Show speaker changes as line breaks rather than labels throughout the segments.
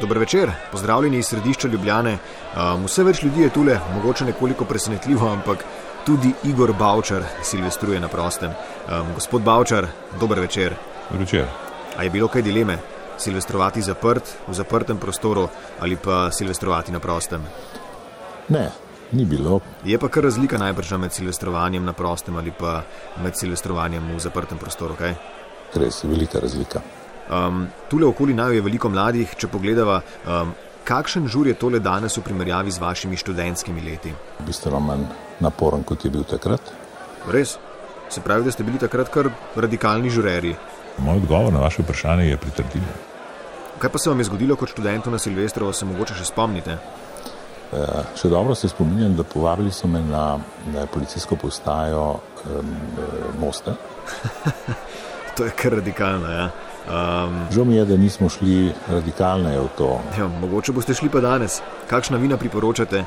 Dober večer, pozdravljeni iz središča Ljubljane. Um, vse več ljudi je tule, mogoče nekoliko presenetljivo, ampak tudi Igor Bavčar silvestruje na prostem. Um, gospod Bavčar, dober večer.
Večer.
A je bilo kaj dileme? Silvestrovati zaprt, v zaprtem prostoru ali pa silvestrovati na prostem?
Ne, ni bilo.
Je pa kar razlika najbrž med silvestrovanjem na prostem ali pa med silvestrovanjem v zaprtem prostoru, kaj?
Res je velika razlika.
Um, tule okoli naju je veliko mladih, če pogledava, um, kakšen žur je tole danes v primerjavi z vašimi študentskimi leti.
Bistveno manj naporen, kot je bil takrat.
Res? Se pravi, da ste bili takrat kar radikalni žurerji.
Moj odgovor na vaše vprašanje je pritrdilo.
Kaj pa se vam je zgodilo kot študentu na Silvestrovo, se mogoče še spomnite?
E, še dobro se spominjam, da povabili so me na, na policijsko postajo um, Mosta.
to je kar radikalno, ja. Um,
Žal mi je, da nismo šli radikalneje v to.
ja. Mogoče boste šli pa danes. Kakšna vina priporočate?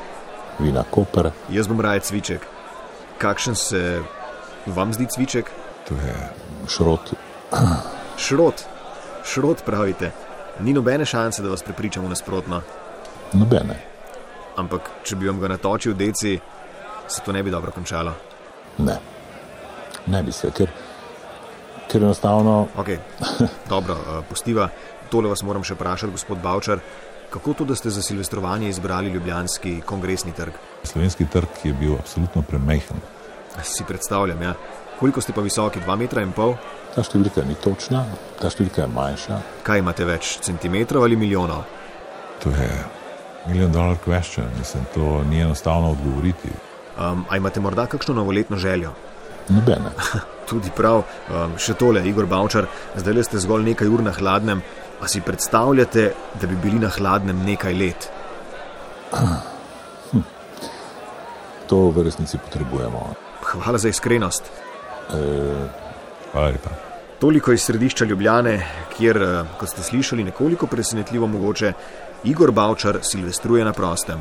Vina Koper.
Jaz bom raje cviček. Kakšen se vam zdi cviček?
To je šrot.
Šrot, šrot pravite. Ni nobene šanse, da vas prepričamo nasprotno.
Nobene.
Ampak, če bi vam ga natočil deci, se to ne bi dobro končalo.
Ne. Ne bi se, ker, ker enostavno
Ok, dobro, eh, pustiva. Tole vas moram še vprašati, gospod Bavčar. Kako to, da ste za silvestrovanje izbrali ljubljanski kongresni trg?
Slovenski trg je bil absolutno premajhen.
Si predstavljam, ja. Koliko ste pa visoki, 2 metra in pol?
ta številka ni točna, ta številka je manjša.
Kaj imate več, centimetrov ali milijonov?
To je milijon dolar question, mislim, to ni enostavno odgovoriti.
Um, a imate morda kakšno novoletno željo?
Nobene.
Tudi prav, um, še tole, Igor Bavčar, zdaj le ste zgolj nekaj ur na hladnem. A si predstavljate, da bi bili na hladnem nekaj let?
To v resnici potrebujemo.
Hvala za iskrenost.
E,
Hvala lepa.
Toliko iz središča Ljubljane, kjer, eh, kot ste slišali, nekoliko presenetljivo mogoče, Igor Bavčar silvestruje na prostem.